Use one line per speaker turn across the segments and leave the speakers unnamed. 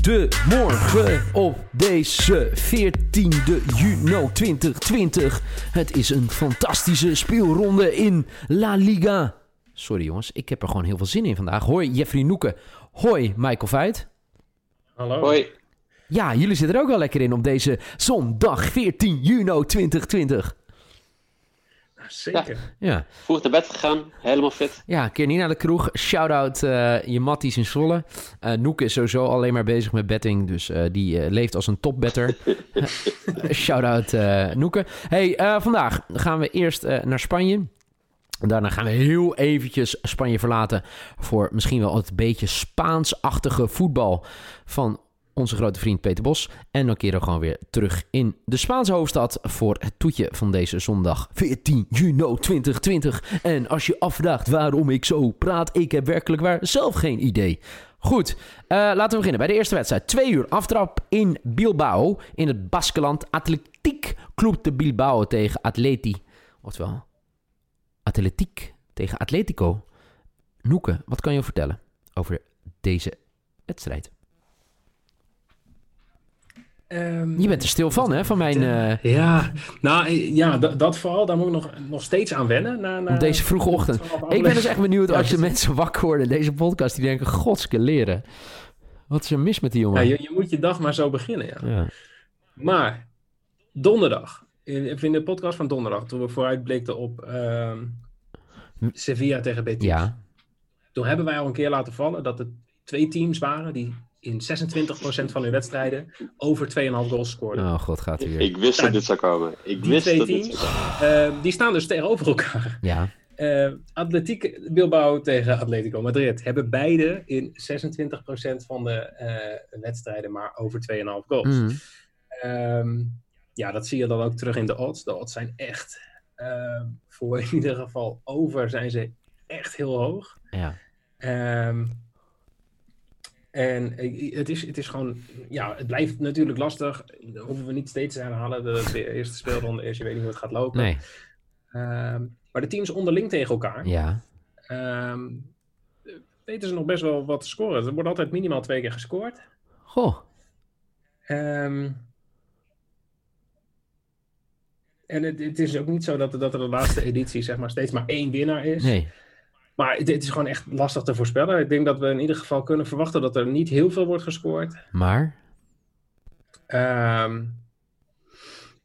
Goedemorgen op deze 14e juni 2020. Het is een fantastische speelronde in La Liga. Sorry jongens, ik heb er gewoon heel veel zin in vandaag. Hoi Jeffrey Noeken. Hoi Michael Veit.
Hallo.
Hoi.
Ja, jullie zitten er ook wel lekker in op deze zondag 14 juni 2020.
Nou, Zeker.
Ja,
Vroeg naar bed gegaan, helemaal fit.
ja een keer niet naar de kroeg. Shout-out eh, je matties in Zwolle. Eh Noeke is sowieso alleen maar bezig met betting, dus eh, die eh, leeft als een topbetter. Shout-out eh, Noeke. Hey, eh, vandaag gaan we eerst eh, naar Spanje. Daarna gaan we heel eventjes Spanje verlaten voor misschien wel het beetje Spaansachtige voetbal van onze grote vriend Peter Bos. En dan keren we gewoon weer terug in de Spaanse hoofdstad voor het toetje van deze zondag 14 juni 2020. En als je afvraagt waarom ik zo praat, ik heb werkelijk waar zelf geen idee. Goed, eh, laten we beginnen bij de eerste wedstrijd. Twee uur aftrap in Bilbao in het Baskeland. Atletiek Club de Bilbao tegen Atleti. Oftewel, Atletiek tegen Atletico. Noeke, wat kan je vertellen over deze wedstrijd?
Ehm,
Je bent er stil van, hè? Van mijn. eh,
Ja, nou eh, ja, da- dat vooral, daar moet ik nog, nog steeds aan wennen. Na, na,
Op deze vroege ochtend. Ik ben dus echt benieuwd als je mensen wakker worden in deze podcast. Die denken, godske leren. Wat is er mis met die
Ja,
jongen?
je, je moet je dag maar zo beginnen. Ja.
Ja.
Maar donderdag, in, in de podcast van donderdag, toen we vooruitblikten op ehm, Sevilla tegen Betis.
Hm. Ja.
Toen hebben wij al een keer laten vallen dat er twee teams waren die in 26% van hun wedstrijden over 2,5 goals scoorden.
Oh god, gaat hij weer.
Ik wist dat dit zou komen. Ik
Die
wist
twee
dat dit
teams?
zou komen.
Ah.
Ehm, die staan dus tegenover elkaar.
Ja.
Eh Atletiek Bilbao tegen Atletico Madrid hebben beide in 26% van de eh, wedstrijden maar over 2,5 goals.
Mm.
Ehm, ja, dat zie je dan ook terug in de odds. De odds zijn echt, ehm, voor in ieder geval over, zijn ze echt heel hoog.
Ja.
Ehm, en eh, het is, het is gewoon, ja, het blijft natuurlijk lastig. Dat hoeven we niet steeds te herhalen dat het de eerste speelronde is. Je weet niet hoe het gaat lopen.
Nee.
Ehm, maar de teams onderling tegen elkaar.
Ja.
Ehm, weten ze nog best wel wat te scoren. Er wordt altijd minimaal twee keer gescoord.
Goh.
Ehm, en het, het is ook niet zo dat, dat er de laatste editie zeg maar, steeds maar één winnaar is.
Nee.
Maar het, het is gewoon echt lastig te voorspellen. Ik denk dat we in ieder geval kunnen verwachten dat er niet heel veel wordt gescoord.
Maar.
Ehm,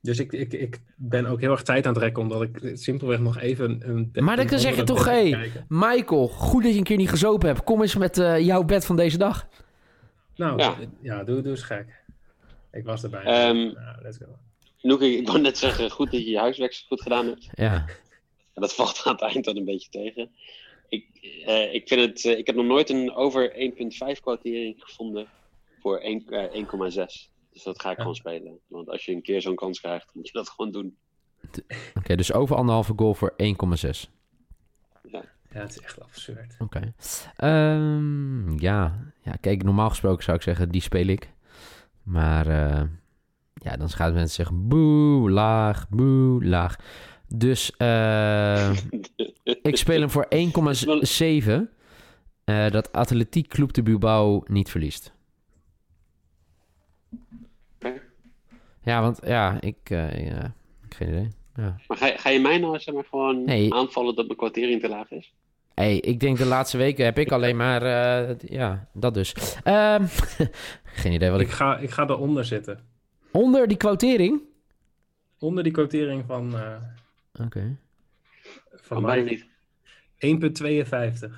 dus ik, ik, ik ben ook heel erg tijd aan het rekken, omdat ik simpelweg nog even... Een,
Maar dan kan
een
zeg je
andere
toch,
wedstrijd
hé,
kijken.
Michael, goed dat je een keer niet gezopen hebt. Kom eens met eh, jouw bed van deze dag.
Nou, ja,
Ja.
doe, doe eens gek. Ik was erbij.
Ehm,
nou, let's go.
Noeke, ik wou net zeggen, goed dat je je huiswerk zo goed gedaan hebt.
Ja.
En dat valt aan het eind dan een beetje tegen. Ik, eh, ik, vind het, eh, ik heb nog nooit een over 1.5 quotering gevonden voor één- eh, 1,6. Dus dat ga ik
Ja.
gewoon spelen. Want als je een keer zo'n kans krijgt, moet je dat gewoon doen.
Oké, dus over anderhalve goal voor 1,6.
Ja, het is echt absurd.
Oké. Ehm, ja. ja, kijk, normaal gesproken zou ik zeggen, die speel ik. Maar eh, ja, dan gaan mensen zeggen, boe, laag, boe, laag. Dus eh, ik speel hem voor 1,7. eh, dat Atletiek Club de Bilbao niet verliest.
Oké.
Ja, want ja, ik... eh ja, ik heb geen idee. Ja.
Maar ga, ga je mij nou zeg maar, gewoon
Nee.
aanvallen dat mijn kwartering te laag is?
Hey, ik denk de laatste weken heb ik alleen maar... eh, ja, dat dus. Ehm, geen idee wat ik...
Ik ga, ik ga eronder zitten.
Onder die quotering?
Onder die quotering van, eh
Oké.
van
Van mij
mij.
Oh, niet.
1,52.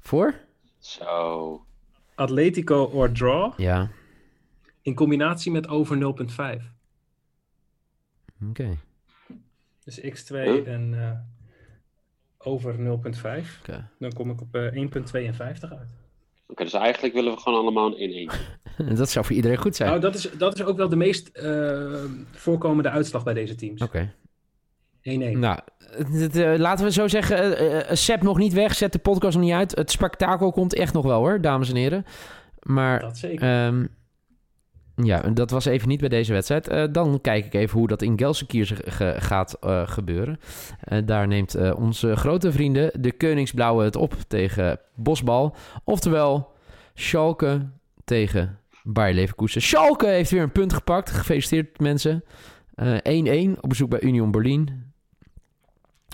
Voor?
Zo.
Atletico or draw
Ja.
in combinatie met over 0,5.
Oké.
Dus x2
Huh?
en eh, over 0,5.
Oké.
Dan kom ik op eh, 1,52 uit.
dus eigenlijk willen we gewoon allemaal een 1-1.
Dat zou voor iedereen goed zijn.
Nou, dat is, dat is ook wel de meest eh, voorkomende uitslag bij deze teams. 1-1.
Oké. Nou, het, eh, laten we zo zeggen, eh, eh, Sepp nog niet weg, zet de podcast nog niet uit. Het spektakel komt echt nog wel hoor, dames en heren. Maar
Dat zeker.
ehm, ja, dat was even niet bij deze wedstrijd. Eh, dan kijk ik even hoe dat in Gelsenkirchen ge- ge- gaat eh, gebeuren. Eh, daar neemt eh, onze grote vrienden, de Koningsblauwe, het op tegen Bosbal. Oftewel, Schalke tegen Bayer Leverkusen. Schalke heeft weer een punt gepakt. Gefeliciteerd mensen. Eh, 1-1 op bezoek bij Union Berlin.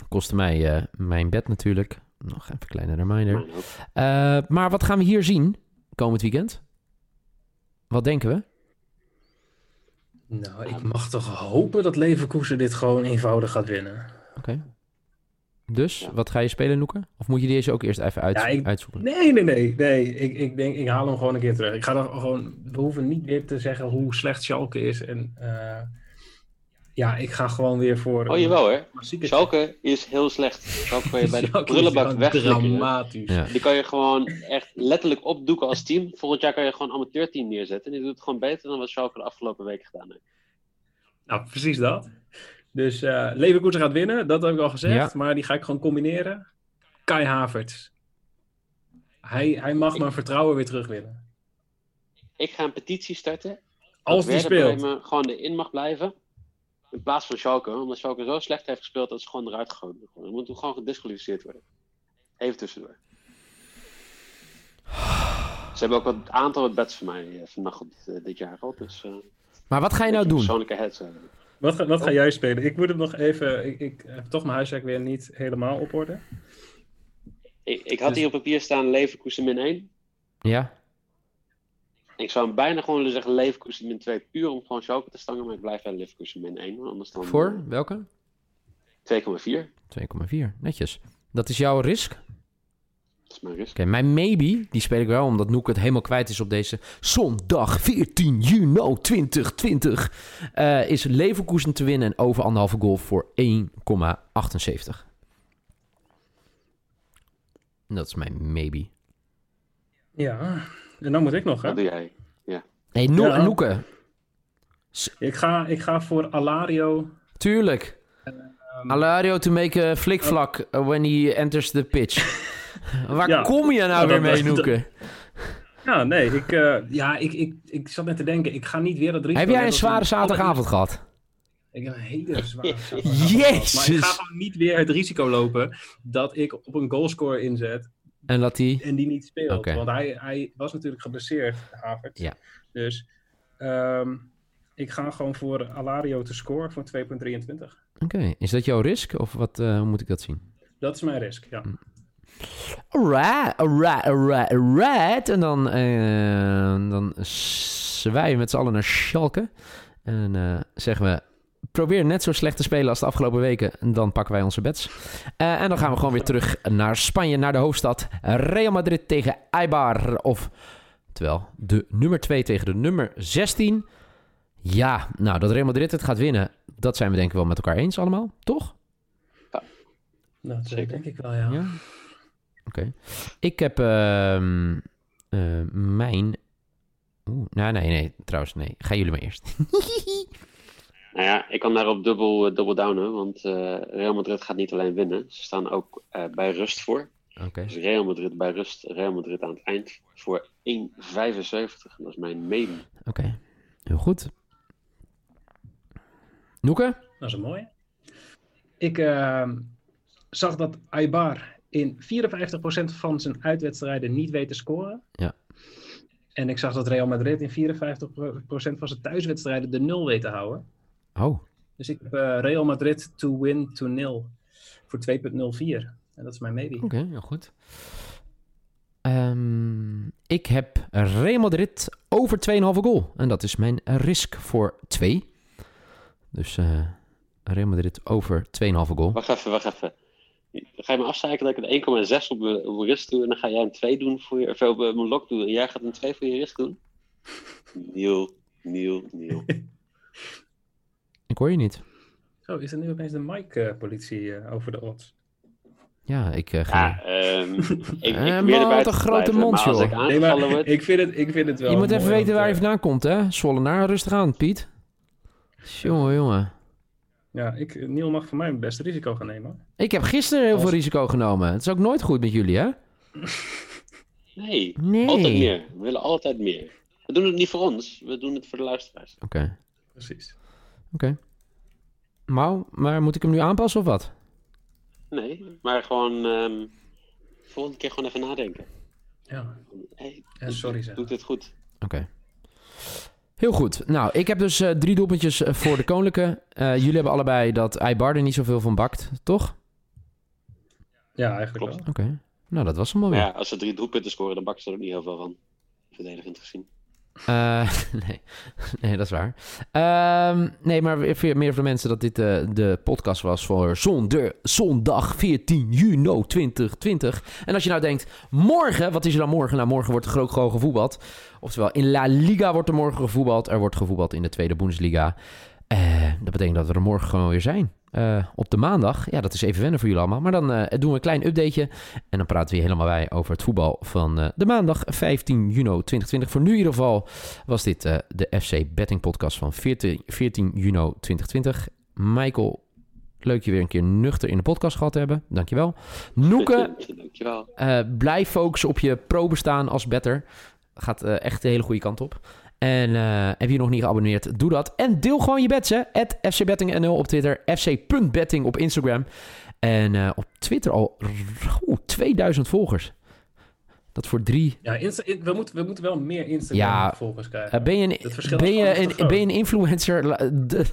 Kostte mij eh, mijn bed natuurlijk. Nog even een kleine reminder.
Mijn ook.
Eh, maar wat gaan we hier zien komend weekend? Wat denken we?
Nou,
Ah.
ik mag toch hopen dat Leverkusen dit gewoon eenvoudig gaat winnen.
Dus,
Ja.
wat ga je spelen, Noeke? Of moet je deze ook eerst even uit,
Ja, ik-
uitzoeken?
Nee, nee, nee. nee. Ik, ik denk, ik haal hem gewoon een keer terug. Ik ga dan gewoon, we hoeven niet weer te zeggen hoe slecht Schalke is. En eh, ja, ik ga gewoon weer voor.
Oh, jawel hoor.
Klassieke
Schalke is heel slecht. Schalke kan je bij de
Schalke is
prullenbak
gewoon
wegflikkeren.
Dramatisch.
Ja.
Die kan je gewoon echt letterlijk opdoeken als team. Volgend jaar kan je gewoon een amateurteam neerzetten. En die doet het gewoon beter dan wat Schalke de afgelopen week gedaan heeft.
Nou, precies dat. Dus eh Leverkusen gaat winnen, dat heb ik al gezegd. Maar die ga ik gewoon combineren. Kai Havertz. Hij, hij mag mijn vertrouwen weer terugwinnen.
Ik ga een petitie starten.
Als die
Werder
speelt.
Bremen gewoon erin mag blijven. In plaats van Schalke. Omdat Schalke zo slecht heeft gespeeld dat ze gewoon eruit gegooid moeten worden. Dan moet gewoon gedisqualificeerd worden. Even tussendoor. Ze hebben ook wat aantal wat bets van mij eh, vannacht op dit, eh, dit jaar al. Dus eh
Maar wat ga je nou
een
doen?
persoonlijke eh. heads hebben.
Wat ga, wat ga jij spelen? Ik moet hem nog even. Ik, ik heb toch mijn huiswerk weer niet helemaal op orde.
Ik, ik had hier op papier staan Leverkusen min 1.
Ja?
Ik zou hem bijna gewoon willen zeggen Leverkusen min 2. Puur om gewoon Schalke te stangen. Maar ik blijf bij Leverkusen min 1. want Anders dan
Voor? Welke?
eh, 2,4.
2,4. Netjes. Dat is jouw risk? Oké,
Dat is mijn risk.
mijn maybe, die speel ik wel, omdat Noek het helemaal kwijt is op deze zondag 14 juni 2020. eh, is Leverkusen te winnen en over anderhalve goal voor 1,78. Dat is mijn maybe.
Ja, en dan moet ik nog. Hè?
Dat doe jij.
Hey, no
Ja.
Noeke,
Ik, ga, ik ga voor Alario.
tuurlijk.
Ehm,
Alario to make a flikvlak uh, when he enters the pitch. Waar
Ja.
kom je nou
Ja,
weer
dat-
mee,
dat-
Noeke?
Ja, nee, ik, eh, ja, ik, ik, ik zat net te denken. Ik ga niet weer dat risico.
Heb jij een
nemen
zware
als-
zaterdagavond gehad?
Ik heb een hele zware zaterdagavond.
Jezus.
Maar ik ga gewoon niet weer het risico lopen dat ik op een goalscore inzet
En dat hij...
en die niet speelt.
Oké.
Want hij, hij was natuurlijk geblesseerd, Havert.
Ja.
Dus ehm, ik ga gewoon voor Alario te scoren voor 2,23.
Oké, is dat jouw risk? Of wat, eh, hoe moet ik dat zien?
Dat is mijn risk, ja.
Hm. Alright, alright, alright, alright. En dan, eh dan zwaaien we met z'n allen naar Schalke. En eh, zeggen we... Probeer net zo slecht te spelen als de afgelopen weken. En Dan pakken wij onze bets. Eh, en dan gaan we gewoon weer terug naar Spanje, naar de hoofdstad. Real Madrid tegen Eibar. Of, terwijl, de nummer 2 tegen de nummer 16. Ja, nou, dat Real Madrid het gaat winnen... dat zijn we denk ik wel met elkaar eens allemaal, toch?
Nou, dat
Zeker.
denk ik wel, ja.
Ja. Oké. Ik heb ehm, eh, mijn. Oeh, nou, nee, nee, trouwens, nee. Gaan jullie maar eerst.
Nou ja, ik kan daarop dubbel, eh, dubbel downen, want eh, Real Madrid gaat niet alleen winnen. Ze staan ook eh, bij rust voor.
Oké.
Dus Real Madrid bij rust, Real Madrid aan het eind voor 1,75. Dat is mijn meme.
Oké. Heel goed. Noeke?
Dat is een mooie. Ik ehm, zag dat Aibar in 54% van zijn uitwedstrijden niet weet te scoren.
Ja.
En ik zag dat Real Madrid in 54% van zijn thuiswedstrijden de nul weet te houden.
Oh,
Dus ik heb eh, Real Madrid to win to nil voor 2.04. En dat is mijn maybe.
oké, heel goed. Ehm, ik heb Real Madrid over 2,5 goal. En dat is mijn risk voor 2. Dus eh Real Madrid over 2,5 goal.
Wacht even, wacht even. Ga je me afzeiken dat ik een 1,6 op mijn op mijn rust doe en dan ga jij een 2 doen voor je, of op eh, mijn lok doen en jij gaat een 2 voor je rust doen? Niel, Niel, Niel.
Ik hoor je niet.
eh, Zo, is er nu opeens de mic-politie over de odds?
Ja, ik eh, ga.
Ja, ehm, ik,
Eh,
ik
man,
probeer
wat
erbij
een
te
grote
blijven,
mond,
maar als
joh.
ik
Nee,
aangevallen
maar
word...
ik vind het, ik vind het wel
je moet even
mooi,
weten
want,
waar je
eh,
vandaan komt, hè? Zwollenaar, rustig aan, Piet. Jongen, jongen.
Ja, ik, Niel mag voor mij mijn beste risico gaan nemen. hoor.
Ik heb gisteren heel
Als-
veel risico genomen. Het is ook nooit goed met jullie, hè?
Nee,
Nee.
altijd meer. We willen altijd meer. We doen het niet voor ons, we doen het voor de luisteraars.
Oké.
Precies.
Mau, maar moet ik hem nu aanpassen of wat?
Nee, maar gewoon... ehm, volgende keer gewoon even nadenken.
Ja,
Hey,
ja sorry
Dus
zeg.
doet dit goed.
Oké. Heel goed. Nou, ik heb dus eh, drie doelpuntjes eh, voor de Koninklijke. Eh, jullie hebben allebei dat Eibar er niet zoveel van bakt, toch?
Ja, eigenlijk
Klopt.
wel.
Oké. Nou, dat was hem alweer.
Maar ja, als ze drie doelpunten scoren, dan bakken ze er ook niet heel veel van. Verdedigend gezien.
Eh, nee. nee, dat is waar. Ehm, nee, maar weer- weer meer voor de mensen dat dit eh, de podcast was voor zonde, zondag 14 juni 2020. En als je nou denkt, morgen, wat is er dan morgen? Nou, morgen wordt er ook gewoon gevoetbald. Oftewel, in La Liga wordt er morgen gevoetbald. Er wordt gevoetbald in de Tweede Bundesliga. Eh, dat betekent dat we er morgen gewoon weer zijn. Eh, op de maandag. Ja, dat is even wennen voor jullie allemaal. Maar dan eh, doen we een klein updateje. En dan praten we hier helemaal bij over het voetbal van eh, de maandag 15 juni 2020. Voor nu in ieder geval was dit eh, de FC Betting Podcast van 14, 14 juni 2020. Michael, leuk je weer een keer nuchter in de podcast gehad te hebben. Dankjewel. Noeke,
Dankjewel.
eh, blijf focussen op je pro-bestaan als better. Gaat eh, echt de hele goede kant op. En eh, heb je nog niet geabonneerd, doe dat. En deel gewoon je bets, hè. At fcbettingnl op Twitter, fc.betting op Instagram. En eh, op Twitter al r- oeh, 2000 volgers. Dat voor drie...
Ja, Insta- in- we, moeten, we moeten wel meer Instagram-volgers krijgen.
Eh, ben, je
Het
een,
verschil
ben,
is
je
gewoon te
een,
groot.
ben je een influencer? La- de-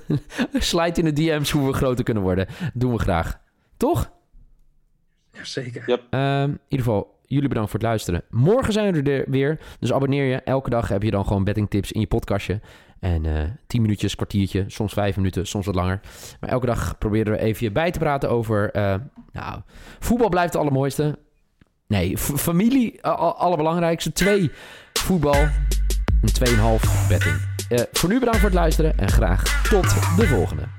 Slide in de DM's hoe we groter kunnen worden. Doen we graag. Toch?
Ja, zeker.
Ehm, in ieder geval, jullie bedankt voor het luisteren. Morgen zijn we er weer. Dus abonneer je. Elke dag heb je dan gewoon bettingtips in je podcastje. En eh 10 minuutjes, kwartiertje, soms 5 minuten, soms wat langer. Maar elke dag proberen we even je bij te praten over. eh, nou, voetbal blijft het allermooiste. Nee, f- familie, a- a- allerbelangrijkste. Twee, voetbal. En 2,5 betting. Eh, voor nu bedankt voor het luisteren en graag tot de volgende.